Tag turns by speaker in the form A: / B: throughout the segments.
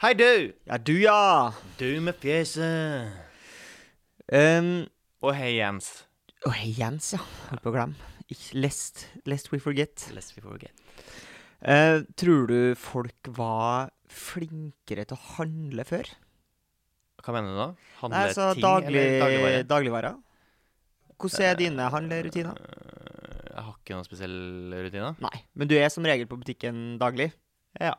A: Hei, du!
B: Ja, du, ja.
A: Du med fjeset.
B: Um,
A: Og hei, Jens.
B: Å, hei, Jens, ja. Holdt på å glemme. Ikke- Lest, lest we forget.
A: Lest we forget.
B: Eh, tror du folk var flinkere til å handle før?
A: Hva mener du nå? Handle
B: Nei, altså
A: ting
B: daglig,
A: eller dagligvare?
B: dagligvarer. Hvordan er dine handlerutiner?
A: Eh, Jeg har ikke noen spesiell rutine.
B: Nei, men du er som regel på butikken daglig.
A: Ja.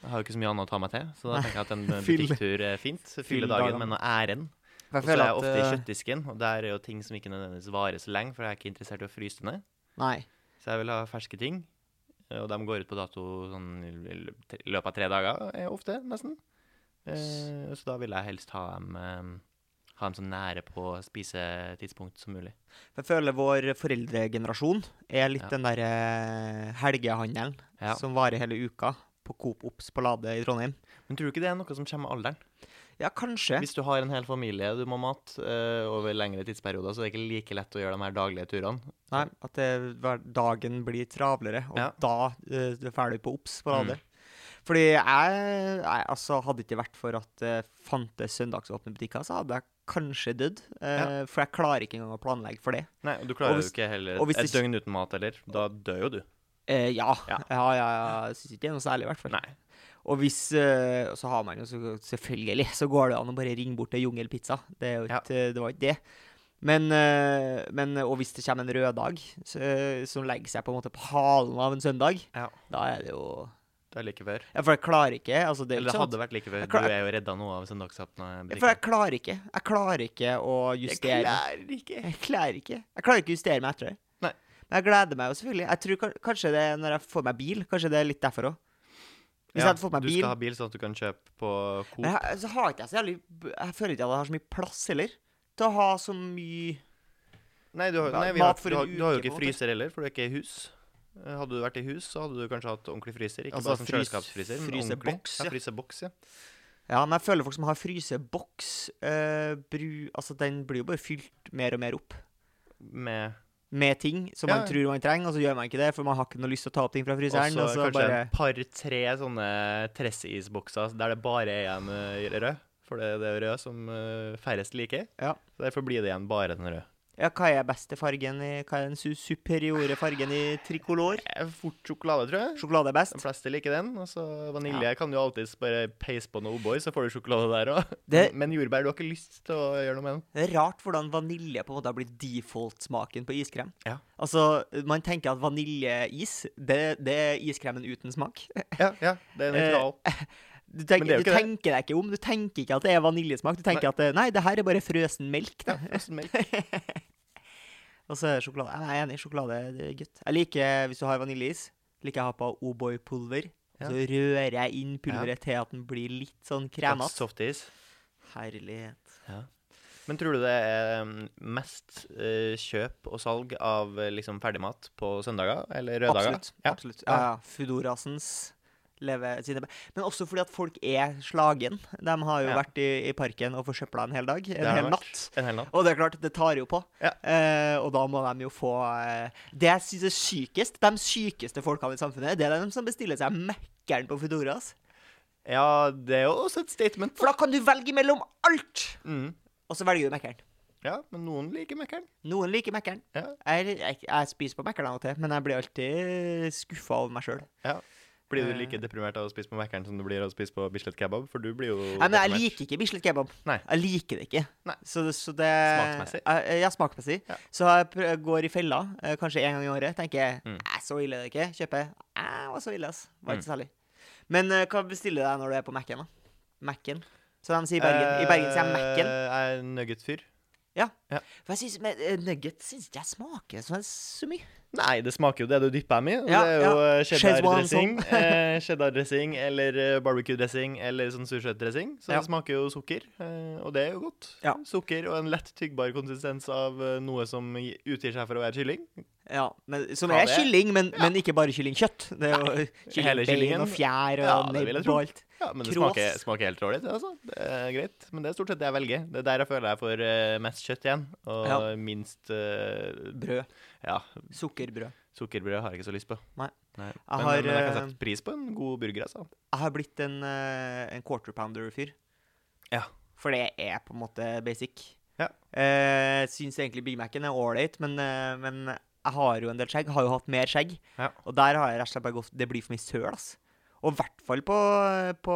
A: Jeg har jo ikke så mye annet å ta meg til, så da
B: Nei.
A: tenker jeg at en
B: Fyll-
A: butikktur er fint. Fylle
B: fyll
A: dagen
B: dagene.
A: med noe ærend.
B: For
A: Og så er jeg ofte i
B: eh,
A: kjøttdisken, og der er jo ting som ikke nødvendigvis varer så lenge, for jeg er ikke interessert i å fryse det ned.
B: Nei.
A: Så jeg vil ha ferske ting. eh, Og de går ut på dato sånn i l- t- i løpet av tre dager, eh, ofte, nesten. Eh, så da vil jeg helst ha dem, eh, ha dem så nære på spisetidspunkt som mulig.
B: For Jeg føler vår foreldregenerasjon er litt
A: Ja.
B: den derre helgehandelen
A: Ja.
B: som varer hele uka på Coop Ops på Lade i Trondheim.
A: Men tror du ikke det er noe som kommer med alderen?
B: Ja, kanskje.
A: Hvis du har en hel familie du må mate eh, over lengre tidsperioder, så er det ikke like lett å gjøre de her daglige turene.
B: Nei, at det, hver- dagen blir travlere, og
A: Ja. Mm.
B: da uh, drar du på Ops på Lade. Fordi jeg, jeg altså, hadde ikke vært for at eh, det fantes søndagsåpne butikker, så hadde jeg kanskje dødd. eh, For jeg klarer ikke engang å planlegge for det.
A: Nei, og du klarer
B: Og hvis-
A: jo ikke heller
B: og hvis
A: et
B: det-
A: døgn uten mat heller. Da dør jo du.
B: Eh, ja.
A: Ja.
B: ja, ja, ja. Jeg syns ikke det er noe særlig, i hvert fall.
A: Nei.
B: Og hvis eh, Så har man jo så, selvfølgelig Så går det an å bare ringe bort til Jungelpizza. Det, er jo
A: Ja.
B: ikke, det var ikke det. Men, eh, men Og hvis det kommer en rød dag så, eh, som legger seg på en måte på halen av en søndag,
A: Ja.
B: da er det jo
A: Det er like før.
B: Ja, for jeg klarer ikke. Altså, det er jo
A: Eller det
B: ikke sånn
A: hadde vært like før.
B: Jeg klarer-
A: Du er jo redda nå av søndagsåpne
B: at- For jeg klarer ikke. Jeg klarer ikke å justere
A: ikke.
B: Jeg klarer ikke Jeg klarer ikke å justere meg etter det.
A: Nei.
B: Men jeg gleder meg jo selvfølgelig. Jeg tror kan- Kanskje det er når jeg får meg bil. Kanskje det er litt derfor òg. Hvis jeg hadde fått meg
A: Du
B: bil
A: skal ha bil sånn at du kan kjøpe på Coop.
B: Men jeg, så har ikke jeg så jævlig Jeg føler ikke at jeg har så mye plass heller til å ha så mye
A: Nei, du har,
B: Hva-
A: nei, vi
B: mat
A: har,
B: for
A: du, har,
B: en
A: du har jo
B: uke,
A: ikke
B: på en måte.
A: fryser heller, for du er ikke i hus. Eh, Hadde du vært i hus, så hadde du kanskje hatt ordentlig fryser. Ikke
B: Altså,
A: bare sånn
B: frys-
A: kjøleskapsfryser, men
B: fryseboks,
A: ordentlig.
B: ja.
A: Ja, fryseboks, ja.
B: Ja, men jeg føler folk som har fryseboks eh, bru, Altså, den blir jo bare fylt mer og mer opp
A: Med
B: med ting som
A: Ja,
B: man
A: ja.
B: tror man trenger, og så gjør man ikke det, for man har ikke noe lyst til å ta opp ting fra fryseren.
A: også
B: Og så
A: kanskje
B: bare
A: et par-tre sånne tresseisbokser der det bare er igjen eh, rød. For det, det er rød som eh, færrest liker.
B: Ja.
A: Så Derfor blir det igjen bare den røde.
B: Ja, hva er beste fargen i Hva er den su superiore fargen i tricolor?
A: Eh, Fort sjokolade, tror jeg.
B: Sjokolade er
A: De
B: best.
A: fleste liker den. Og så vanilje kan du alltids bare peise på noe O'boy, så får du sjokolade der òg.
B: Det-
A: Men jordbær, du har ikke lyst til å gjøre noe med den.
B: Det er rart hvordan vanilje på en måte har blitt default-smaken på iskrem.
A: Ja.
B: Altså, man tenker at vaniljeis, det, det er iskremen uten smak.
A: Ja, ja, det er
B: Eh,
A: nøytral.
B: Du,
A: Men det er
B: tenker,
A: jo
B: du
A: ikke det.
B: tenker deg ikke om. Du tenker ikke at det er vaniljesmak. Du tenker at det, nei, det her er bare frøsen melk.
A: Ja,
B: Da.
A: frossen melk.
B: Og så er det sjokolade. Jeg er enig, sjokolade det er godt. Jeg liker, hvis du har vaniljeis, liker jeg å ha på O'boy-pulver.
A: Ja.
B: Og Så rører jeg inn pulveret til at den blir litt sånn kremete.
A: Softis.
B: Herlighet.
A: Men tror du det er um, mest eh, kjøp og salg av eh, liksom ferdigmat på søndager eller røde dager?
B: Absolutt.
A: Ja.
B: absolutt. Ja, ja. Fudorasens leve sine be- Men også fordi at folk er slagen. De har jo
A: Ja.
B: vært i, i parken og forsøpla en hel dag.
A: Det
B: En
A: har
B: hel
A: det vært.
B: natt.
A: En hel natt.
B: Og det er klart, det tar jo på.
A: Ja.
B: Eh, og da må de jo få eh, Det jeg syns er sykest, de sykeste folkene i samfunnet, det er de som bestiller seg Mækkern på Foodora. ass.
A: Ja, det er jo også et statement.
B: For da kan du velge mellom alt!
A: Mm.
B: Og så velger du Mækkern.
A: Ja, men noen liker Mækkern.
B: Noen liker Mækkern.
A: Ja.
B: Jeg, jeg, jeg spiser på Mækkern av og til, men jeg blir alltid skuffa over meg sjøl.
A: ja. Blir du
B: Eh.
A: like deprimert av å spise på Mækkern som du blir av å spise på Bislett Kebab? For du blir jo
B: Nei, men jeg
A: deprimert.
B: liker ikke Bislett kebab.
A: Nei.
B: Jeg liker det ikke.
A: Nei.
B: Så, det- så det
A: Smaksmessig?
B: Jeg- Ja, smakmessig.
A: Ja.
B: Så jeg prø- går i fella eh, kanskje en gang i året. Tenker jeg,
A: Mm.
B: "Æ, så ille er det ikke. Kjøper. Æ, var så ille, ass. Var ikke særlig. Men eh, hva bestiller du deg når du er på Mac-en, da? Mac-en. Så de sier i Bergen. I Bergen sier jeg
A: Eh,
B: Mac-en.
A: Jeg er nugget-fyr.
B: For jeg synes, men, eh, Nuggets syns ikke jeg smaker så, så mye.
A: Nei, det smaker jo det du dypper dem i. og
B: Ja,
A: det er jo
B: ja.
A: eh, cheddar-dressing.
B: Schezwan
A: eh, Cheddar-dressing eller eh, barbecue-dressing eller sånn dressing Så
B: Ja.
A: det smaker jo sukker, eh, og det er jo godt.
B: Ja.
A: Sukker og en lett tyggbar konsistens av eh, noe som gi- utgir seg for å være kylling.
B: Ja, men, Som
A: Ja,
B: er
A: det-
B: kylling, men, men ikke bare kyllingkjøtt. Det er jo
A: hele
B: kyllingbein
A: kyllingen.
B: og fjær og
A: Ja, det vil jeg
B: nebb
A: tro.
B: og alt.
A: Ja, Men det
B: Krås.
A: smaker, smaker helt dårlig. det, Altså. Det er greit. Men det er stort sett det jeg velger. Det er der jeg føler jeg får eh, mest kjøtt igjen, og
B: Ja.
A: minst eh,
B: Brød.
A: Ja,
B: Sukkerbrød.
A: Sukkerbrød har jeg ikke så lyst på.
B: Nei.
A: Nei.
B: Jeg
A: Men,
B: har,
A: men jeg kan
B: eh,
A: sette pris på en god burger, altså.
B: Jeg har blitt en, eh, en quarter pounder-fyr.
A: Ja.
B: For det er på en måte basic.
A: Ja.
B: Eh, syns egentlig Big Mac-en er ålreit, men, eh, men jeg har jo en del skjegg. Har jo hatt mer skjegg.
A: Ja.
B: Og der har jeg rett og slett bare gått Det blir for mye søl, ass. Og i hvert fall på, eh, på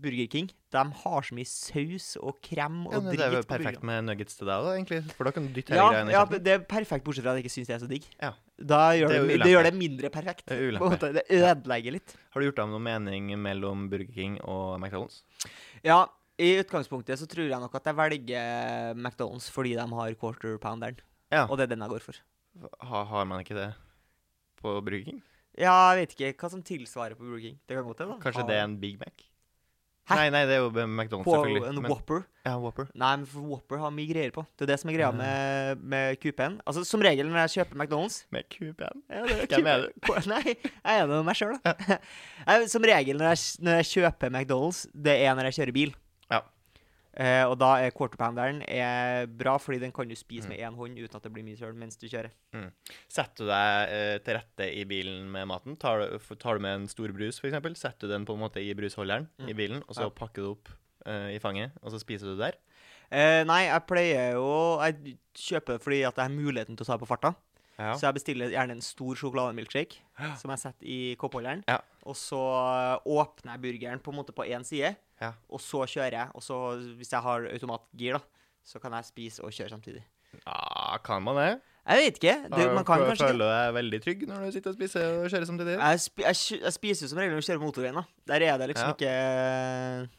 B: Burger King. De har så mye saus og krem og
A: Ja, men
B: drit.
A: det er jo
B: på
A: perfekt
B: burgeren.
A: med nuggets til deg, da, egentlig. For da kan du dytte hele
B: Ja,
A: greiene i
B: ja,
A: kjeften.
B: det er perfekt, bortsett fra at jeg ikke syns det er så digg.
A: Ja.
B: Da gjør
A: Det
B: det,
A: er jo
B: det, gjør det mindre perfekt.
A: Det er
B: på en
A: ulempe.
B: måte. Det ødelegger litt.
A: Har du gjort deg om noen mening mellom Burger King og McDonald's?
B: Ja, i utgangspunktet så tror jeg nok at jeg velger eh, McDonald's fordi de har quarter pounderen.
A: Ja.
B: Og det er den jeg går for.
A: Ha, har man ikke det på Burger King?
B: Ja, jeg vet ikke hva som tilsvarer på Burger King. Det kan godt hende. da.
A: Kanskje
B: Ha-
A: det er en Big Mac?
B: Hæ?
A: Nei, nei, det er jo McDonald's,
B: på
A: selvfølgelig.
B: en
A: Men-
B: Whopper.
A: Ja, Whopper.
B: Nei, men for Whopper har mye greier på. Det er det som er
A: Ah.
B: greia med, med QP-en. Altså, som regel når jeg kjøper McDonald's
A: Med kuben.
B: Ja, det
A: Hvem
B: kult.
A: er du?
B: Hvor- Nei, jeg er enig med meg sjøl, da. Nei, Som regel når jeg, når jeg kjøper McDonald's, det er når jeg kjører bil.
A: Ja.
B: Eh, og da er quarter pounderen er bra, fordi den kan du
A: Mm.
B: spise med én hånd uten at det blir mye søl mens du kjører.
A: Setter du deg eh, til rette i bilen med maten? Tar du, f- tar du med en stor brus, f.eks.? Setter du den på en måte i brusholderen i bilen, og så
B: Mm. Ja.
A: pakker du opp eh, i fanget, og så spiser du der?
B: Eh, nei, jeg pleier jo Jeg kjøper det fordi at jeg har muligheten til å ta på farta.
A: Ja.
B: Så jeg bestiller gjerne en stor sjokolademilkshake
A: Ja.
B: som jeg setter i koppholderen.
A: Ja.
B: Og så eh, åpner jeg burgeren på en måte på én side,
A: Ja.
B: og så kjører jeg. Og så, hvis jeg har automatgir, da, så kan jeg spise og kjøre samtidig.
A: Ah, kan man det?
B: Jeg vet ikke. Det, man kan
A: Føler-
B: kanskje
A: Føler
B: ikke.
A: du deg veldig trygg når du sitter og spiser og kjører samtidig?
B: Jeg, spi, jeg, kjø- jeg spiser jo som regel når jeg kjører på motorveien. da. Der er det liksom eh,
A: Ja.
B: ikke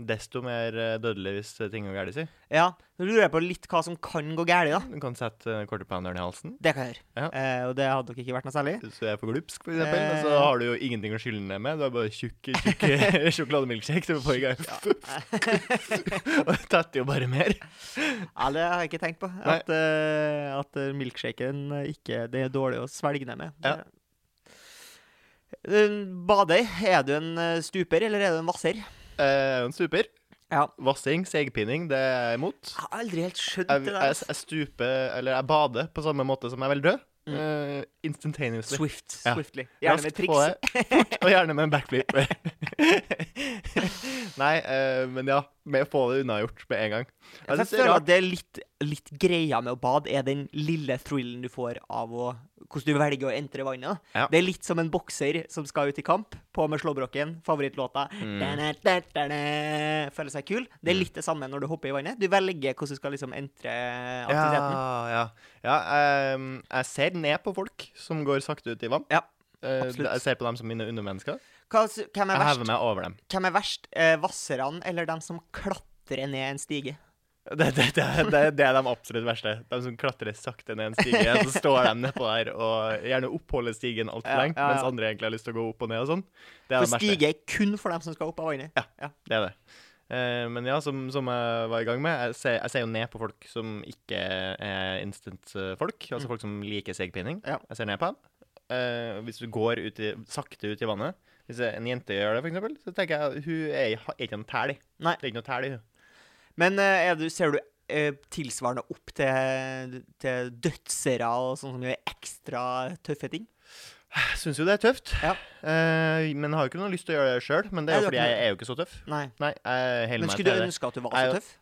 A: Desto mer eh, dødelig hvis ting går galt, si.
B: Ja. Nå lurer jeg på litt hva som kan gå galt, da.
A: Du kan sette quarterpounderen i halsen.
B: Det kan jeg gjøre.
A: Ja.
B: Eh, og det hadde nok ikke vært noe særlig.
A: Hvis du er for glupsk, for eksempel, og så
B: Eh.
A: har du jo ingenting å skylde ned med. Du har bare tjukk tjukk sjokolademilkshake som forrige gang. Og det tetter jo bare mer.
B: Ja, det har jeg ikke tenkt på. At, eh, at eh, milkshaken eh, ikke Det er dårlig å svelge ned med.
A: Ja.
B: Eh, Badøy, er du en eh, stuper, eller er du en vasser?
A: Eh, en stuper.
B: Ja.
A: Vassing, segpining, det er jeg imot.
B: Jeg har aldri helt skjønt
A: Jeg,
B: det der.
A: jeg,
B: altså.
A: jeg stuper, eller jeg bader på samme måte som jeg vil dø.
B: Mm.
A: Eh, instantaneously.
B: Swift.
A: Ja.
B: Swiftly. Gjerne med
A: Raskt
B: triks.
A: på det, Fort, og gjerne med en backflip. Nei, eh, men ja. Med å få det unnagjort med en gang.
B: Ja,
A: synes
B: for Jeg
A: det er
B: føler
A: rart.
B: at det er litt, litt greia med å bade, er den lille thrillen du får av å, hvordan du velger å entre vannet. da.
A: Ja.
B: Det er litt som en bokser som skal ut i kamp, på med slåbroken, favorittlåta.
A: Mm.
B: Da-da, da-da-da. Føler seg kul. Det er litt det samme når du hopper i vannet. Du velger hvordan du skal liksom entre aktiviteten.
A: Ja, ja. ja ehm, jeg ser ned på folk som går sakte ut i vann.
B: Ja,
A: Eh,
B: absolutt.
A: jeg ser på dem som mine undermennesker.
B: Hva, s- hvem er
A: Jeg hever
B: verst?
A: meg over dem.
B: Hvem er verst? Eh, Vasserne eller dem som klatrer ned en stige?
A: Det, det, det, det, det er de absolutt verste. De som klatrer sakte ned en stige, så står de nedpå der og gjerne oppholder stigen altfor
B: Ja,
A: lenge,
B: ja, ja.
A: mens andre egentlig har lyst til å gå opp og ned og sånn. Det er
B: For
A: det verste.
B: stige er kun for dem som skal opp av vannet.
A: Det er det. Eh, men ja, som, som jeg var i gang med, jeg ser, jeg ser jo ned på folk som ikke er instant-folk. Altså folk som liker segpinning.
B: Mm. Ja.
A: Jeg ser ned på dem. Eh, hvis du går ut i, sakte ut i vannet Hvis en jente gjør det, for eksempel, så tenker jeg hun er, har ikke en tæl i.
B: Nei.
A: Det er ikke noe tæl i hun.
B: Men eh, er du, ser du eh, tilsvarende opp til, til dødsere og sånne som gjør ekstra tøffe ting?
A: Jeg syns jo det er tøft,
B: Ja.
A: Eh, men har jo ikke noe lyst til å gjøre det sjøl. Men det er jo
B: Nei, du
A: fordi
B: har ikke
A: jeg
B: noe-
A: er jo ikke så tøff.
B: Nei.
A: Nei, jeg holder
B: Men
A: meg
B: skulle
A: til
B: du
A: det.
B: ønske at du var
A: Nei,
B: så
A: jeg-
B: tøff?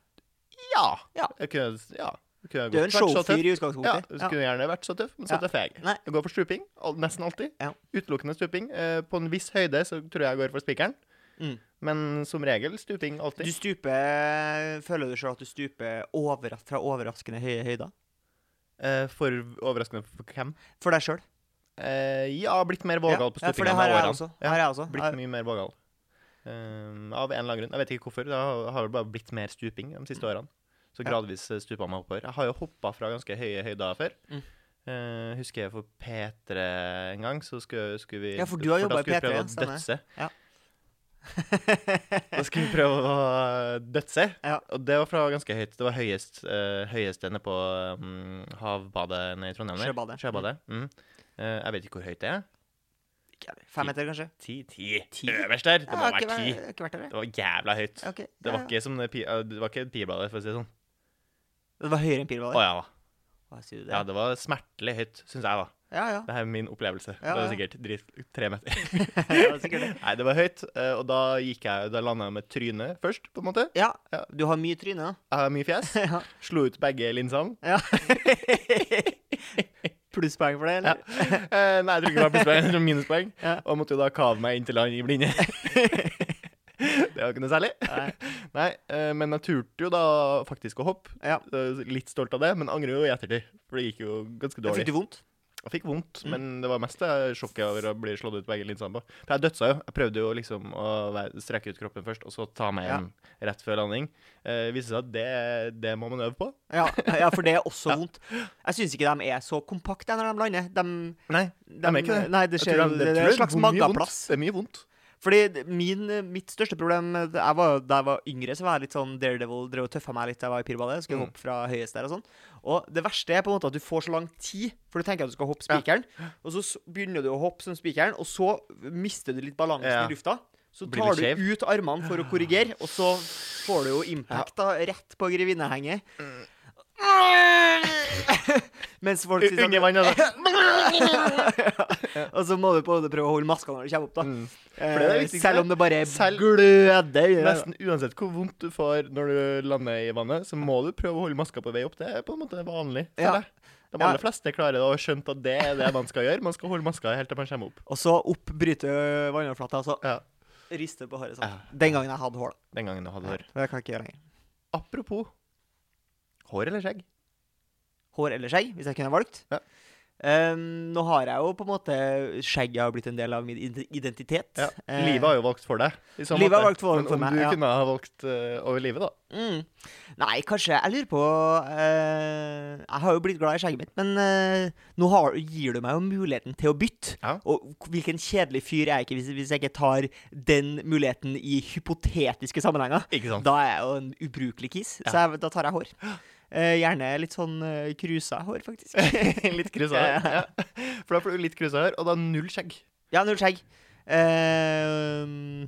A: Ja.
B: Ja.
A: Jeg kunne, ja. Jeg kunne
B: Du er
A: godt
B: jo en
A: vært så tøff.
B: showfyr i
A: Ja,
B: utgangspunktet.
A: du
B: Ja.
A: skulle gjerne vært så tøff, men så
B: Ja.
A: tøff er jeg.
B: Nei.
A: Jeg går for stuping, al- nesten alltid.
B: Ja.
A: Utelukkende stuping. Eh, På en viss høyde så tror jeg jeg går for spikeren,
B: Mm.
A: men som regel stuping
B: Du
A: alltid.
B: stuper Føler du sjøl at du stuper overras fra overraskende høye høyder?
A: Eh, For overraskende for hvem?
B: For deg sjøl?
A: Eh, Ja, blitt mer vågal på stupinga
B: Ja, for det
A: med
B: har jeg
A: årene.
B: også. Har jeg også.
A: Blitt mye mer vågal. Eh, Av en eller annen grunn. Jeg vet ikke hvorfor. Det har- har vel bare blitt mer stuping de siste årene. Så
B: Mm. Ja.
A: gradvis eh, stupa meg oppover. Jeg har jo hoppa fra ganske høye høyder før.
B: Mm.
A: Eh, husker jeg for P3 en gang, så skulle, skulle vi
B: Ja, for du har
A: da
B: jobbet i
A: skulle vi
B: P3,
A: prøve å
B: stemmer.
A: dødse.
B: Jeg-
A: Da skulle vi prøve å eh, dødse.
B: Ja.
A: Og det var fra ganske høyt. Det var høyest, eh, høyest nede på mm, havbadet nede i Trondheim. der.
B: Sjøbadet.
A: Sjøbadet. Mm. Eh, jeg vet ikke hvor høyt det er.
B: Fem meter, kanskje?
A: Ti? Ti.
B: Ti?
A: Øverst der. Det må
B: Ja, ikke
A: være ti.
B: vært- Ikke vært der, jeg.
A: Det var jævla høyt.
B: Ok,
A: Det
B: ja,
A: var
B: ja.
A: ikke som det, pi- eh, det var ikke pirbladet, for å si det sånn.
B: Det var høyere
A: Å
B: enn pilballer?
A: ja, da.
B: Hva sier du
A: ja,
B: det?
A: det var smertelig høyt, syns jeg, da.
B: Ja, ja.
A: Det her er min opplevelse.
B: Ja,
A: Det var
B: ja.
A: sikkert drit, tre meter.
B: Det var sikkert det.
A: Nei, det var høyt, eh, og da gikk jeg, da landa jeg med trynet først, på en måte.
B: Ja,
A: Ja.
B: du har mye tryne, da.
A: Jeg har mye fjes.
B: Ja.
A: Slo ut begge linsene.
B: Ja. Plusspoeng for det,
A: Ja.
B: eller?
A: Eh, nei, jeg tror ikke det var plusspoeng, det var minuspoeng.
B: Ja.
A: Og måtte jo da kave meg inn til land i blinde. det var ikke noe særlig.
B: Nei.
A: Nei, eh, men jeg turte jo da faktisk å hoppe.
B: Ja.
A: Eh, Litt stolt av det, men angrer jo i ettertid. For det gikk jo ganske
B: Jeg
A: dårlig.
B: Fikk du vondt?
A: Jeg fikk vondt,
B: Mm.
A: men det var mest det sjokket over å bli slått ut begge linsene på. For jeg dødsa jo. Jeg prøvde jo liksom å være- strekke ut kroppen først, og så ta meg igjen rett før landing. Eh, Det viste seg at det, det må man øve på.
B: Ja, ja, for det er også vondt. Jeg syns ikke de er så kompakte når de lander. De,
A: Nei,
B: de,
A: de er ikke det.
B: Nei, det,
A: Jeg
B: skjer,
A: tror de-
B: det,
A: jeg
B: er
A: tror
B: en slags
A: mye
B: mageplass.
A: vondt. Det er mye vondt.
B: Fordi d- min, mitt største problem eh, jeg var, Da jeg var yngre, så var jeg litt sånn daredevil, drev og tøffa meg litt da jeg var i pirbadet. Skulle
A: Mm.
B: hoppe fra høyest der og sånn. Og det verste er på en måte at du får så lang tid, for du tenker at du skal hoppe spikeren, og så s- begynner du å hoppe som spikeren, og så mister du litt balansen
A: Ja.
B: i lufta. Så
A: Blir Ah.
B: tar
A: du
B: du ut armene for å korrigere, og så får du jo impact da, rett på grevinnehenget.
A: Mm.
B: Mens folk sånn, synes at-
A: Under vann, altså.
B: Og så må du på en måte prøve å holde maska når du kommer opp, da.
A: Mm.
B: Eh,
A: For det er det viktigste.
B: Selv om det bare
A: Selv-
B: gløder. i det, da.
A: Nesten uansett hvor vondt du får når du lander i vannet, så må du prøve å holde maska på vei opp. Det er på en måte vanlig. for
B: Ja.
A: deg. De
B: Ja.
A: aller fleste klarer det og har skjønt at det er det man skal gjøre. Man skal holde maska helt til man kommer opp.
B: Og så opp bryte vannoverflata, og så
A: Ja,
B: riste på håret sånn.
A: Ja.
B: Den gangen jeg hadde hår. da.
A: Den gangen jeg hadde hår.
B: Det kan jeg ikke gjøre lenger.
A: Apropos hår eller skjegg.
B: Hår eller skjegg, hvis jeg kunne valgt.
A: Ja.
B: Ehm, nå har jeg jo på en måte Skjegg har blitt en del av min ident- identitet.
A: Ja.
B: Eh,
A: livet har jo valgt for deg. i så
B: Livet har
A: måte.
B: valgt for-
A: Men
B: for
A: om
B: meg,
A: du
B: ja.
A: kunne ha valgt eh, over livet, da.
B: Mm. Nei, kanskje Jeg lurer på eh, Jeg har jo blitt glad i skjegget mitt, men eh, nå har, gir du meg jo muligheten til å bytte.
A: Ja.
B: Og k- hvilken kjedelig fyr er jeg ikke hvis, hvis jeg ikke tar den muligheten i hypotetiske sammenhenger?
A: Ikke sant?
B: Da er jeg jo en ubrukelig kis, så jeg, da tar jeg hår. Eh, gjerne litt sånn uh, krusa hår, faktisk.
A: litt kryssa
B: Ja,
A: her. Ja. For da får du litt kryssa her, og da null skjegg.
B: ja, null skjegg. Eh,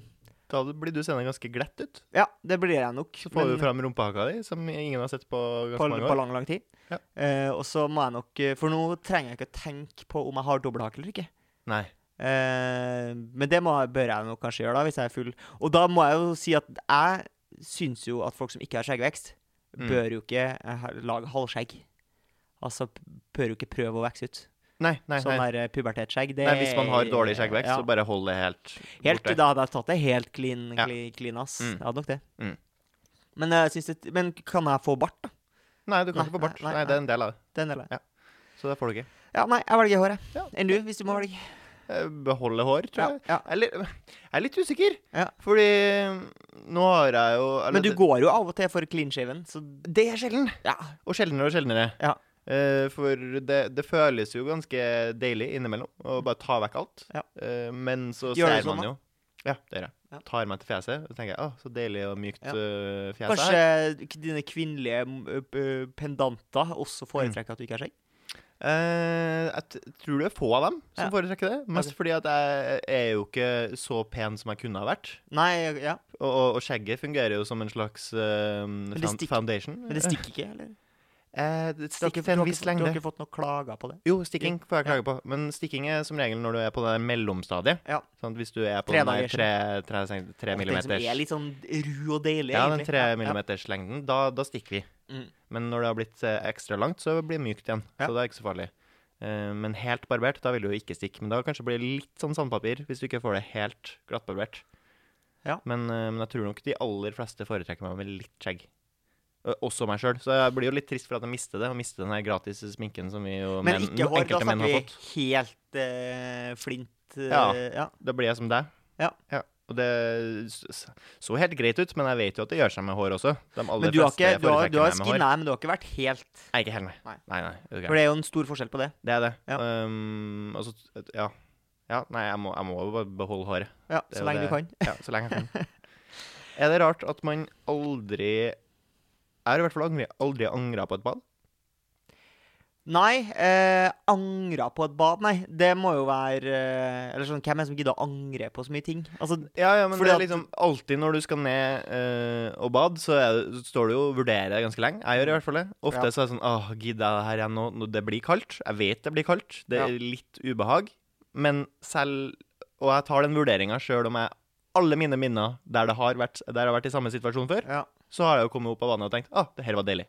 A: Da blir du seende ganske glett ut.
B: ja, det blir jeg nok.
A: Så får
B: men-
A: du fram rumpehaka di, som ingen har sett på ganske
B: på,
A: mange
B: på
A: år.
B: lang, lang tid.
A: Ja.
B: Eh, og så må jeg nok eh, For nå trenger jeg ikke å tenke på om jeg har dobbelthake eller ikke.
A: Nei.
B: Eh, men det må, jeg- bør jeg nok kanskje gjøre, da, hvis jeg er full. Og da må jeg jo si at jeg syns jo at folk som ikke har skjeggvekst,
A: Mm.
B: bør jo ikke eh, ha- lage halvskjegg. Altså p- bør jo ikke prøve å vekse ut.
A: Nei, nei,
B: Sånn
A: nei.
B: der eh, pubertetsskjegg. det
A: nei. Hvis man har dårlig
B: er-
A: skjeggvekst,
B: ja.
A: så bare hold det helt,
B: Helt,
A: borte.
B: da hadde jeg tatt det helt clean,
A: Ja.
B: clean, clean ass.
A: Mm.
B: Jeg hadde nok det.
A: Mm.
B: Men, eh, jeg syns det. men kan jeg få bart, da?
A: Nei, du kan
B: Nei,
A: ikke få bart.
B: nei,
A: Nei,
B: nei,
A: det er en del av det.
B: Den delen.
A: Ja. Så det får du ikke.
B: Ja, nei, jeg velger hår, jeg.
A: Ja.
B: Enn du, hvis du må velge.
A: Eh, Beholde hår, tror
B: Ja,
A: jeg.
B: ja.
A: Eller Jeg er litt usikker,
B: Ja.
A: fordi eh, nå har jeg jo eller
B: Men du
A: det-
B: går jo av og til for clean shaven, så
A: Det er sjelden.
B: ja.
A: Og sjeldnere og sjeldnere.
B: Ja.
A: Eh, for det, det føles jo ganske deilig innimellom å bare ta vekk alt.
B: Ja.
A: Eh, men så
B: Gjør du
A: ser man
B: sånn, da?
A: jo Ja, det gjør jeg.
B: Ja.
A: Tar meg til fjeset og tenker jeg, å, så deilig og mykt
B: Ja.
A: eh, fjes det er.
B: Kanskje k- dine kvinnelige m, ø, ø, pendanter også
A: Mm.
B: foretrekker at du ikke har skjegg?
A: Eh, jeg t tror det er få av dem som
B: Ja.
A: foretrekker det. Mest fordi at jeg er jo ikke så pen som jeg kunne ha vært.
B: Nei, ja.
A: Og, og, og skjegget fungerer jo som en slags eh,
B: det
A: found-
B: stikker.
A: foundation.
B: Men det stikker ikke, eller?
A: Eh, det
B: Du har
A: stikker til
B: ikke, du
A: en
B: har
A: viss
B: ikke, du
A: lengde.
B: har ikke fått noen klager på det?
A: Jo, stikking får jeg klage på. Men stikking er som regel når du er på det der mellomstadiet.
B: Ja.
A: Sånn at hvis du er på
B: Tre
A: den der
B: dagers.
A: tre, tre, seng- tre
B: Alt det
A: millimeters
B: Som er litt sånn ru og deilig,
A: Ja, den
B: egentlig.
A: tre millimeters lengden, da, da stikker vi.
B: Mm.
A: Men når det har blitt eh, ekstra langt, så blir det mykt igjen.
B: Ja.
A: Så det er ikke så farlig. Eh, men helt barbert, da vil du jo ikke stikke. Men da kanskje blir det litt sånn sandpapir, hvis du ikke får det helt glattbarbert.
B: Ja.
A: Men, eh, men jeg tror nok de aller fleste foretrekker meg med litt skjegg. Eh, Også meg sjøl. Så jeg blir jo litt trist for at jeg mister det. Og mister den her gratis sminken som vi jo
B: Men
A: menn-
B: ikke hår. Da
A: enkelte menn
B: snakker
A: har
B: vi
A: fått.
B: helt eh, flint eh,
A: Ja.
B: ja.
A: Da blir jeg som deg.
B: Ja.
A: Og det s- s- så helt greit ut, men jeg vet jo at det gjør seg med hår også. De aller
B: Men du har,
A: fleste
B: ikke, du har,
A: foretrekker
B: du har
A: meg med hår.
B: skinna, men du har ikke vært helt
A: Nei, ikke helt, nei.
B: Nei.
A: Nei, nei, er du
B: For
A: gæren.
B: det er jo en stor forskjell på det.
A: Det er det.
B: Ja.
A: Um, altså, t- ja. ja. Nei, jeg må, jeg må jo bare beholde håret.
B: Ja,
A: Det er jo
B: Så lenge
A: det.
B: du kan.
A: Ja, så lenge jeg kan. er det rart at man aldri Jeg har i hvert fall angri, aldri angra på et bad.
B: Nei, eh, angra på et bad, nei. Det må jo være eh, Eller sånn, hvem er det som gidder å angre på så mye ting? Altså,
A: Ja, ja, men det
B: Fordi
A: er
B: at-
A: liksom alltid når du skal ned eh, og bade, så, er, det- så står du jo og vurderer ganske lenge. Jeg gjør i hvert fall det. Ofte
B: Ja.
A: så er det sånn Åh, gidder jeg det her igjen nå? Nå- Det blir kaldt. Jeg vet det blir kaldt. Det
B: Ja.
A: er litt ubehag. Men selv Og jeg tar den vurderinga sjøl om jeg alle mine minner der, det har vært, der jeg har vært i samme situasjon før,
B: ja.
A: så har jeg jo kommet opp av vannet og tenkt ah, det her var deilig.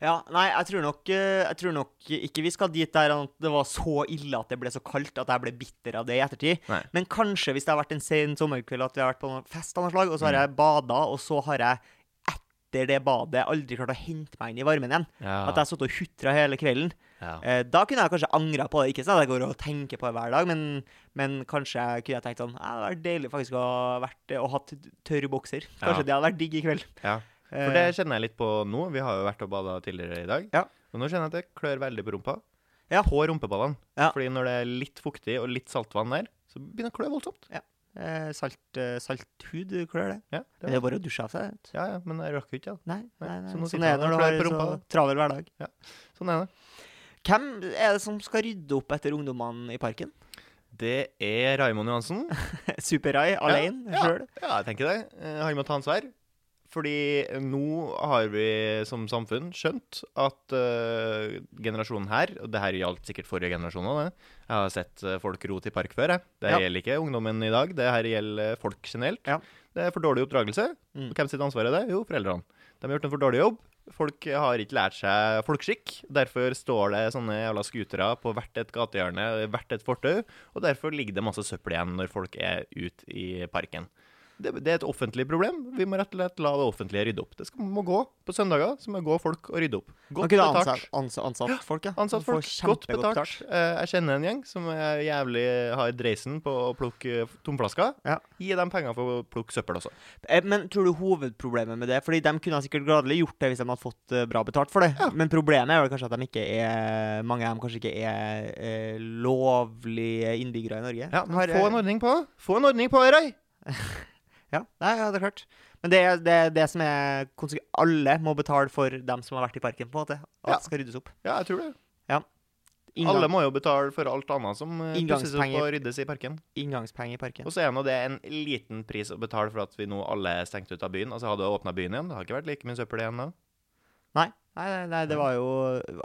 B: Ja, nei, jeg tror, nok, eh, jeg tror nok ikke vi skal dit der at det var så ille at det ble så kaldt at jeg ble bitter av det i ettertid.
A: Nei.
B: Men kanskje hvis det har vært en sen sommerkveld at vi har vært på noen fest av noe slag, og
A: Mm.
B: så har jeg bada, og så har jeg etter det badet aldri klart å hente meg inn i varmen igjen.
A: Ja.
B: At jeg har sittet og hutra hele kvelden.
A: ja.
B: Eh, da kunne jeg kanskje angra på det. Ikke sånn at jeg går og tenker på det hver dag, men, men kanskje jeg kunne jeg tenkt sånn «Ja, Det hadde vært deilig faktisk å ha vært og hatt tørr bokser. Kanskje
A: Ja.
B: det hadde vært digg i kveld. Eh,
A: ja. For det kjenner jeg litt på nå. Vi har jo vært og bada tidligere i dag.
B: Ja.
A: Og nå kjenner jeg at det klør veldig på rumpa.
B: Ja.
A: På rumpeballene.
B: Ja.
A: Fordi når det er litt fuktig og litt saltvann der, så begynner det å klø voldsomt.
B: Eh, salt, eh, salthud klør det.
A: Ja, det
B: Men Det
A: var.
B: er bare å dusje av seg. vet du.
A: ja, ja, men jeg rakk jo ikke det.
B: Nei, nei,
A: Nei,
B: nei.
A: så nå
B: Sånn
A: sitter
B: er
A: han
B: det
A: og
B: når du
A: klør på
B: har så
A: rumpa,
B: travel hverdag.
A: Sånn er det.
B: Hvem er det som skal rydde opp etter ungdommene i parken?
A: Det er Raimond Johansen.
B: Super-Rai alene?
A: ja.
B: Sjøl?
A: Ja, jeg tenker det. Eh, Han må ta ansvar. Fordi nå har vi som samfunn skjønt at eh, generasjonen her Og det her gjaldt sikkert forrige generasjon òg, det. Jeg har sett eh, folk rote i park før, jeg. Det
B: Ja.
A: gjelder ikke ungdommen i dag. Det her gjelder eh, folk generelt.
B: Ja.
A: Det er for dårlig oppdragelse.
B: Mm.
A: Og hvem sitt ansvar er det? Jo, foreldrene. De har gjort en for dårlig jobb. Folk har ikke lært seg folkeskikk. Derfor står det sånne jævla skutere på hvert et gatehjørne, hvert et fortau. Og derfor ligger det masse søppel igjen når folk er ute i parken. Det, det er et offentlig problem. Vi må rett og slett la det offentlige rydde opp. Det skal, må gå på søndager. Så må gå folk og rydde opp.
B: Man
A: Godt
B: kunne
A: betalt.
B: ansatt, ansatt, ansatt folk, ja.
A: Ansatt
B: Man får
A: folk. Godt
B: kjempegodt
A: betalt. Eh, Jeg kjenner en gjeng som er jævlig har dreisen på å plukke eh, tomflasker.
B: Ja.
A: Gi dem penger for å plukke søppel også.
B: Eh, Men tror du hovedproblemet med det Fordi de kunne ha sikkert gladelig gjort det hvis de hadde fått eh, bra betalt for det. Men problemet er vel kanskje at de ikke er mange av dem kanskje ikke er eh, lovlige innbyggere i Norge.
A: Ja,
B: Har,
A: men
B: eh,
A: få en ordning på det. Få en ordning på det, Røy!
B: ja. Nei, ja, det er klart. Men det er det, det som er konsekven- Alle må betale for dem som har vært i parken, på en måte. At
A: Ja.
B: det skal ryddes opp.
A: Ja, jeg tror det.
B: Inngang,
A: Alle må jo betale for alt annet som eh, pusses opp
B: Inngangspenger.
A: og ryddes i parken.
B: Inngangspenger i parken.
A: Og så er nå det en liten pris å betale for at vi nå alle er stengt ut av byen. Altså hadde åpna byen igjen, det har ikke vært like mye søppel igjen da.
B: Nei, nei, nei, nei det var jo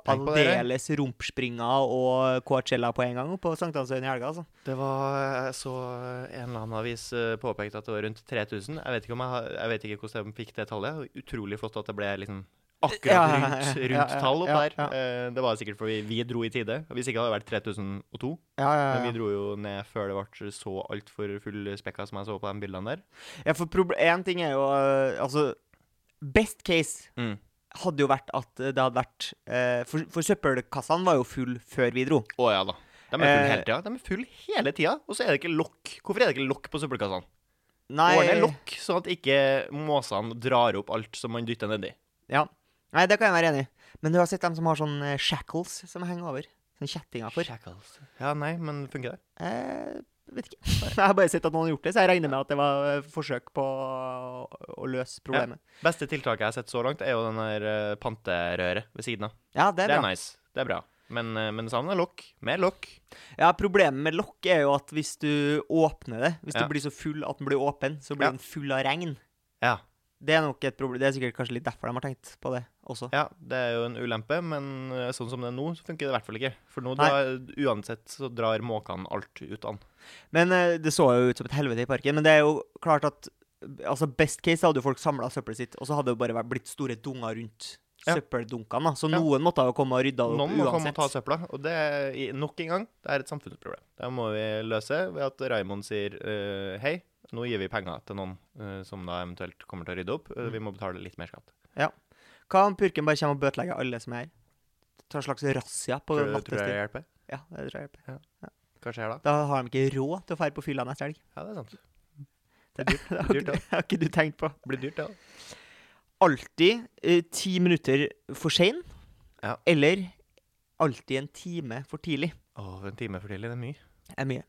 A: Tenk på det, Røy.
B: aldeles rumpspringer og Coachella på en gang oppe på Sankthanshøyen i helga, altså.
A: Det var jeg så en eller annen avis eh, påpekte at det var rundt 3000. Jeg vet ikke, om jeg, har- jeg vet ikke hvordan de fikk det tallet. Det var Utrolig flott at det ble liksom
B: Ja,
A: akkurat rundt,
B: ja,
A: rundt
B: ja,
A: tall opp
B: ja,
A: der. Eh, Det var sikkert fordi vi dro i tide. Hvis ikke hadde det vært 3002.
B: Ja, ja,
A: Men vi dro jo ned før det ble så altfor fullspekka som jeg så på de bildene der.
B: Ja, for én ting er jo øh, Altså, best case
A: Mm.
B: hadde jo vært at det hadde vært eh, For, for søppelkassene var jo full før vi dro.
A: Å ja da. De er full
B: Eh,
A: hele tida. De er full hele tida. Og så er det ikke lokk. Hvorfor er det ikke lokk på søppelkassene?
B: Nei,
A: Ordne lokk, sånn at ikke måsene drar opp alt som man dytter nedi.
B: Ja. Nei, det kan jeg være enig i. Men du har sett dem som har sånn eh, shackles som henger over? Sånn kjettinger for?
A: Shackles. Ja, nei, men funker det?
B: Eh, vet ikke. Jeg har bare sett at noen har gjort det, så jeg regner med at det var eh, forsøk på å, å løse problemet.
A: Beste tiltaket jeg har sett så langt, er jo den der eh, panterøret ved siden av.
B: Ja, det
A: Det
B: er
A: er,
B: bra.
A: nice. Det er bra. Men, eh, men savner lokk. Mer lokk.
B: Ja, Problemet med lokk er jo at hvis du åpner det, hvis
A: Ja.
B: du blir så full at den blir åpen, så blir
A: Ja.
B: den full av regn.
A: Ja.
B: Det er nok et problem. Det er sikkert kanskje litt derfor de har tenkt på det også.
A: ja. Det er jo en ulempe, men eh, sånn som det er nå, så funker det i hvert fall ikke. For nå,
B: Nei.
A: drar, uansett, så drar måkene alt ut an.
B: Men eh, det så jo ut som et helvete i parken. Men det er jo klart at altså best case hadde jo folk samla søppelet sitt, og så hadde det bare vært- blitt store dunger rundt
A: Ja.
B: søppeldunkene. da. Så
A: Ja.
B: noen måtte jo komme og rydda det opp
A: Noen må komme og
B: uansett.
A: ta søpla, og det er i- nok en gang det er et samfunnsproblem. Det må vi løse ved at Raimond sier eh, hei, nå gir vi penger til noen eh, som da eventuelt kommer til å rydde opp. Eh, vi må betale litt mer skatt.
B: Hva om purken bare kommer og bøtelegger alle som er her? Ta en slags razzia på
A: Tror du, tror du det
B: nattestid.
A: hjelper?
B: Ja, det tror jeg.
A: Hva skjer da?
B: Da har de ikke råd til å dra på fylla neste helg.
A: Ja, det er sant.
B: Det
A: dyrt,
B: det har
A: dyrt,
B: ikke, det har ikke du tenkt på.
A: Det blir dyrt, det. da.
B: Alltid eh, ti minutter for sein,
A: Ja.
B: eller alltid en time for tidlig.
A: Å, en time for tidlig, det er mye.
B: er mye.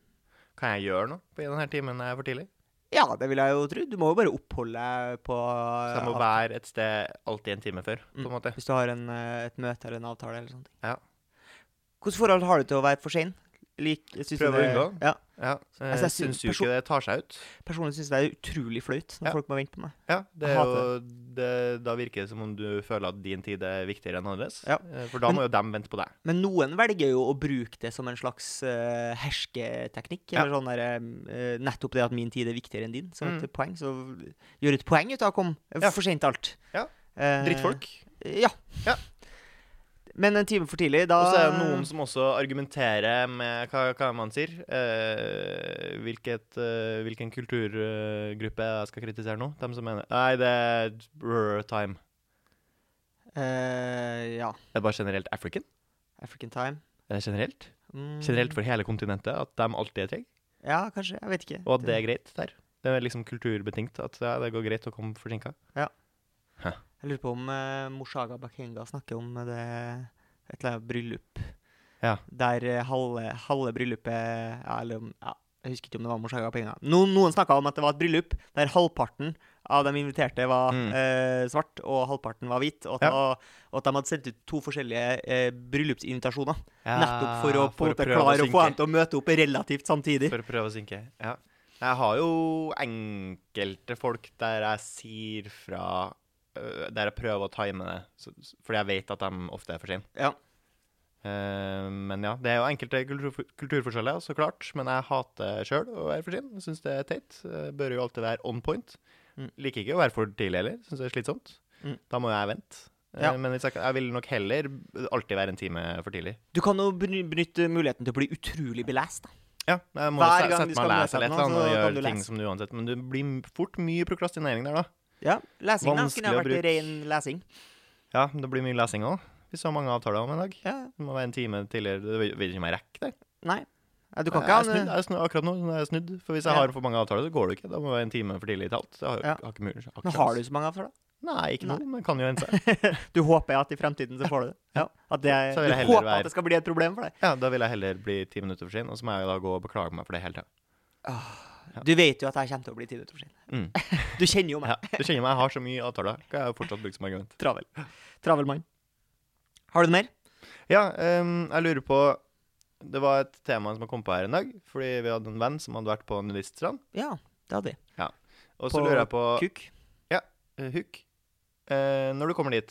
A: Kan jeg gjøre noe på denne timen jeg er for tidlig?
B: Ja, det vil jeg jo tro. Du må jo bare oppholde deg på
A: Så jeg må
B: av-
A: være
B: Mm.
A: et sted alltid en time før, på en måte.
B: Hvis du har en, eh, et møte eller en avtale eller sånne ting.
A: Ja.
B: Hvilket forhold har du til å være for sein? Lik, jeg synes
A: Prøver å
B: det-
A: unngå.
B: Ja,
A: Ja, jeg
B: Altså, jeg
A: Eh, syns
B: syns
A: jo
B: perso-
A: ikke det tar seg ut.
B: personlig syns jeg det er utrolig flaut når
A: Ja.
B: folk må vente på meg.
A: Ja, det
B: Jeg
A: er
B: hater
A: jo, det, Da virker det som om du føler at din tid er viktigere enn andres.
B: Ja.
A: Eh, For da må jo dem vente på deg.
B: Men noen velger jo å bruke det som en slags eh, hersketeknikk. Eller sånn der, eh, nettopp det at min tid er viktigere enn din. Som et poeng. Så gjør et poeng ut av å komme
A: Mm. Ja.
B: for sent til alt.
A: Ja.
B: Eh,
A: Drittfolk.
B: Ja.
A: Ja.
B: Men en time for tidlig, da
A: Og så er det noen som også argumenterer med hva, hva man sier. Eh, hvilket, eh, hvilken kulturgruppe jeg skal kritisere nå. De som mener Nei, det er rrr time.
B: Eh, Ja.
A: Det er bare generelt African.
B: African time.
A: Er det generelt?
B: Mm.
A: Generelt for hele kontinentet at de alltid er trege.
B: Ja, kanskje. Jeg vet ikke.
A: Og at det er greit der. Det er liksom kulturbetingt at ja, det går greit å komme forsinka.
B: Jeg lurer på om eh, Moshaga Bakenga snakker om det et eller annet bryllup.
A: Ja.
B: Der eh, halve, halve bryllupet ja, Eller om- ja, jeg husker ikke om det var Moshaga Bakenga. No, noen snakka om at det var et bryllup der halvparten av de inviterte var
A: Mm.
B: eh, svart, og halvparten var hvit. Og at, det var- og at de hadde sendt ut to forskjellige eh, bryllupsinvitasjoner. nettopp for å, på en måte
A: prøve
B: klare å,
A: synke.
B: få dem til å møte opp relativt samtidig.
A: For å prøve å synke. Ja. Jeg har jo enkelte folk der jeg sier fra øh, Der jeg prøver å time det, så- s- fordi jeg vet at de ofte er for sene.
B: Ja.
A: Eh, men ja, det er jo enkelte kultur, kulturforskjeller, så klart. Men jeg hater sjøl å være for sen. Syns det er teit. Eh, Bør jo alltid være on point.
B: Mm.
A: Liker ikke å være for tidlig heller. Syns det er slitsomt.
B: Mm.
A: Da må jeg vente. Eh,
B: Ja.
A: Men hvis jeg, jeg vil nok heller alltid være en time for tidlig.
B: Du kan jo beny- benytte muligheten til å bli utrolig belest. da.
A: Ja, jeg må
B: Hver
A: se-
B: gang
A: sette
B: du
A: meg
B: skal
A: og
B: møte
A: lese litt da, og
B: noen, så kan du
A: gjøre ting
B: lese.
A: som du uansett Men det blir m- fort mye prokrastinering der, da.
B: Ja, lesing da,
A: Vanskelig å
B: kunne ha vært
A: bruke.
B: ren lesing.
A: Ja, men det blir mye lesing òg. Hvis du har mange avtaler om en dag.
B: Ja,
A: Det må være en time tidligere. Du vet ikke om jeg rekker det.
B: Nei. Ja, Du kan
A: Jeg
B: ikke
A: er
B: ha
A: snudd,
B: en
A: jeg er snudd akkurat nå. nå er jeg snudd. For hvis jeg
B: Ja.
A: har for mange avtaler, så går det ikke. Da må det være en time for tidlig til alt. Jeg har, jo-
B: Ja.
A: har ikke mulig, har ikke
B: Men har
A: sjans.
B: du så mange avtaler?
A: Nei, ikke
B: Nei.
A: noe, men kan jo hende seg.
B: Du håper at i fremtiden så får du det?
A: Ja.
B: At det,
A: Så
B: du
A: vil jeg
B: håper
A: heller være-
B: at det skal bli et problem for deg?
A: Ja, da vil jeg heller bli ti minutter for sen, og så må jeg da gå og beklage meg for det hele tida. Ja.
B: Du vet jo at jeg kommer til å bli ti minutter for sent.
A: Mm.
B: Du kjenner jo meg.
A: Ja. Du kjenner meg, jeg har så mye avtaler. Kan jeg jo fortsatt bruke som argument.
B: Travel. Travel mann. Har du noe mer?
A: Ja, ehm, jeg lurer på Det var et tema som jeg kom på her en dag. Fordi vi hadde en venn som hadde vært på nudiststrand.
B: Ja, det hadde vi.
A: Og så
B: På
A: lurer jeg på
B: Kuk.
A: eh, Huk. Eh, når du kommer dit,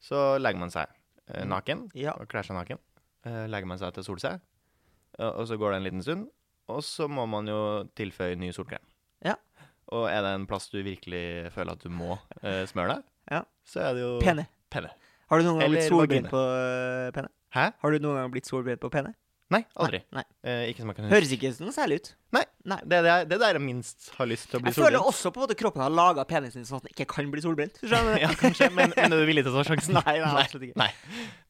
A: så legger man seg eh,
B: Mm.
A: naken.
B: Ja.
A: Og kler seg naken. Eh, legger man seg til solseg. eh, og så går det en liten stund. Og så må man jo tilføye ny solkrem.
B: Ja.
A: Og er det en plass du virkelig føler at du må eh, smøre deg,
B: Ja.
A: så er det jo
B: Pene.
A: Pene.
B: Har du noen gang
A: Eller
B: blitt
A: vagina.
B: solbrent på øh, pene?
A: Hæ?
B: Har du noen gang blitt solbrent på pene?
A: Nei, aldri.
B: Nei.
A: Eh, ikke som jeg kan
B: nei.
A: huske.
B: Høres ikke noe særlig ut.
A: Det er det, jeg- det er der jeg minst har lyst til å bli
B: Jeg føler
A: solbrent.
B: også på en måte kroppen har laga penisen din sånn at den ikke kan bli solbrent. Du skjønner?
A: Ja, kanskje, men, men er du villig til å ta sjansen?
B: Nei, nei, absolutt ikke.
A: Nei.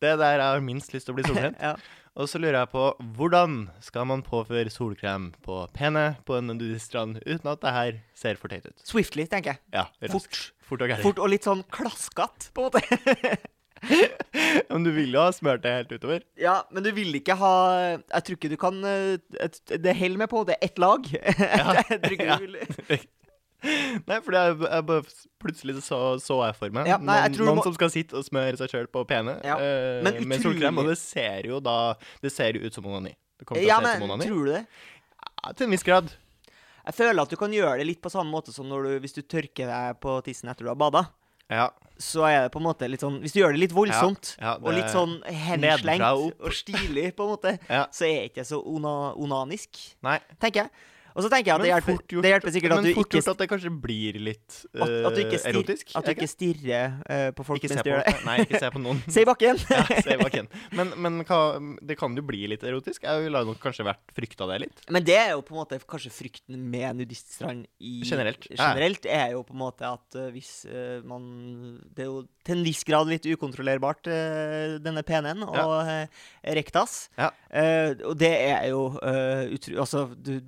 A: Det er der jeg har minst lyst til å bli solbrent.
B: Ja.
A: Og så lurer jeg på hvordan skal man påføre solkrem på pene på en nudiststrand uten at det her ser for teit ut?
B: Swiftly, tenker jeg.
A: Ja, raskt.
B: Fort.
A: Fort og gærent.
B: Fort og litt sånn klaskete, på en måte.
A: Men du vil jo ha smørt det helt utover.
B: Ja, men du vil ikke ha Jeg tror ikke du kan eh, et- Det holder med på, det er ett lag. jeg tror ikke
A: Ja.
B: du vil
A: Nei, for jeg, jeg bare plutselig så, så jeg for meg
B: Ja, nei, jeg
A: noen,
B: tror du
A: noen
B: må-
A: som skal sitte og smøre seg sjøl på pene
B: Ja,
A: eh,
B: men
A: med solkrem,
B: utrolig-
A: og det ser jo da Det ser jo ut som onani. Det kommer til
B: Ja,
A: å se ut
B: men
A: som onani.
B: tror du det?
A: Ja, til en viss grad.
B: Jeg føler at du kan gjøre det litt på samme måte som når du, hvis du tørker deg på tissen etter du har bada.
A: Ja.
B: Så er det på en måte litt sånn Hvis du gjør det litt voldsomt,
A: Ja, ja,
B: og
A: det-
B: litt sånn henslengt
A: Nedenfra og opp.
B: og stilig, på en måte,
A: Ja.
B: så er ikke det så ona, onanisk,
A: Nei.
B: tenker jeg. Og så tenker jeg at det
A: Men
B: hjelper,
A: fort gjort-
B: det hjelper sikkert at
A: men
B: du
A: fort
B: ikke
A: gjort at det kanskje blir litt
B: at, at du ikke,
A: eh,
B: stirr-
A: erotisk.
B: at du
A: er
B: ikke stirrer eh, på folk
A: Ikke se
B: mens du
A: på
B: gjør det.
A: Nei, ikke se på noen.
B: Se i bakken!
A: Ja, se bak igjen. Men, men hva, det kan jo bli litt erotisk. Jeg ville nok kanskje vært frykta det litt.
B: Men det er jo på en måte kanskje frykten med nudiststrand i
A: Generelt, ja.
B: generelt er jo på en måte at eh, hvis eh, man Det er jo til en viss grad litt ukontrollerbart, eh, denne penen og eh, rektas.
A: Ja.
B: Eh, og det er jo eh, utro... Altså, du,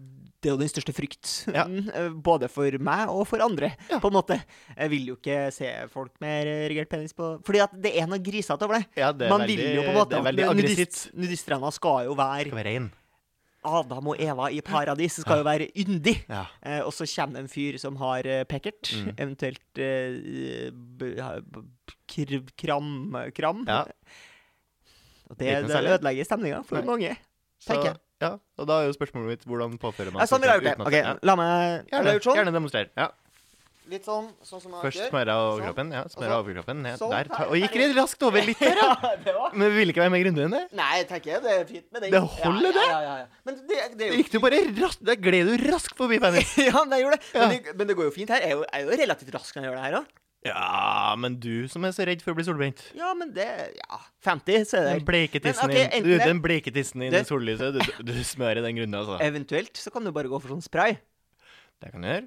B: det er jo den største frykten,
A: Ja.
B: eh, både for meg og for andre,
A: Ja.
B: på en måte. Jeg vil jo ikke se folk med erigert penis på Fordi at det er noe grisete over det.
A: Ja, det er
B: Man
A: veldig,
B: vil jo på en måte
A: Det er veldig
B: at
A: aggressivt.
B: nudist, nudiststranda skal jo være
A: Skal være rein.
B: Adam og Eva i paradis skal jo være yndig.
A: Ja.
B: Eh, og så kommer en fyr som har eh, pekkert,
A: Mm.
B: eventuelt eh, b- ha- b- kr kram, kram.
A: Ja.
B: Og Og det,
A: Ikke noe
B: det
A: særlig.
B: ødelegger stemninga for
A: Nei.
B: mange.
A: Så,
B: Tenker jeg.
A: ja, og da er jo spørsmålet mitt hvordan påfører man
B: Ja, sånn ville jeg gjort
A: uten at-
B: det. Ok,
A: ja.
B: La meg
A: Gjerne,
B: Eller gjort sånn.
A: gjerne demonstrer. Ja.
B: Litt sånn, sånn som jeg
A: Først smører jeg
B: Sånn.
A: overkroppen. Ja, smører
B: så-
A: jeg overkroppen ned
B: sånn.
A: der. Ta, og gikk litt raskt over litt der, ja.
B: ja, det var
A: Men vi ville ikke være mer grundig enn det.
B: Nei, tenker jeg. Det er fint med den.
A: Det holder,
B: ja, ja, ja, ja. Men det, det er
A: Det
B: jo
A: gikk du bare raskt Der gled du raskt forbi penis.
B: Ja, men jeg gjorde det. Men,
A: Ja.
B: det. men det går jo fint her. Jeg er jo, jeg er jo relativt rask når jeg gjør det her òg.
A: Ja, men du som er så redd for å bli solbrent.
B: Ja, men det Ja, 50, så er
A: Den
B: det
A: bleke tissen
B: Men, ok,
A: din.
B: enten
A: Du,
B: det-
A: den bleke tissen din i
B: Det-
A: sollyset. Du, du smører den grundig, altså.
B: Eventuelt så kan du bare gå for sånn spray.
A: Det kan du gjøre.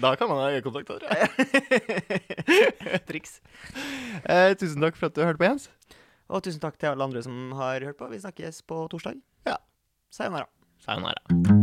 A: Da kan man ha øyekontakt. tror jeg.
B: Triks.
A: Eh, tusen takk for at du hørte på, Jens.
B: Og tusen takk til alle andre som har hørt på. Vi snakkes på torsdag.
A: Ja.
B: Sayonara.
A: Sayonara.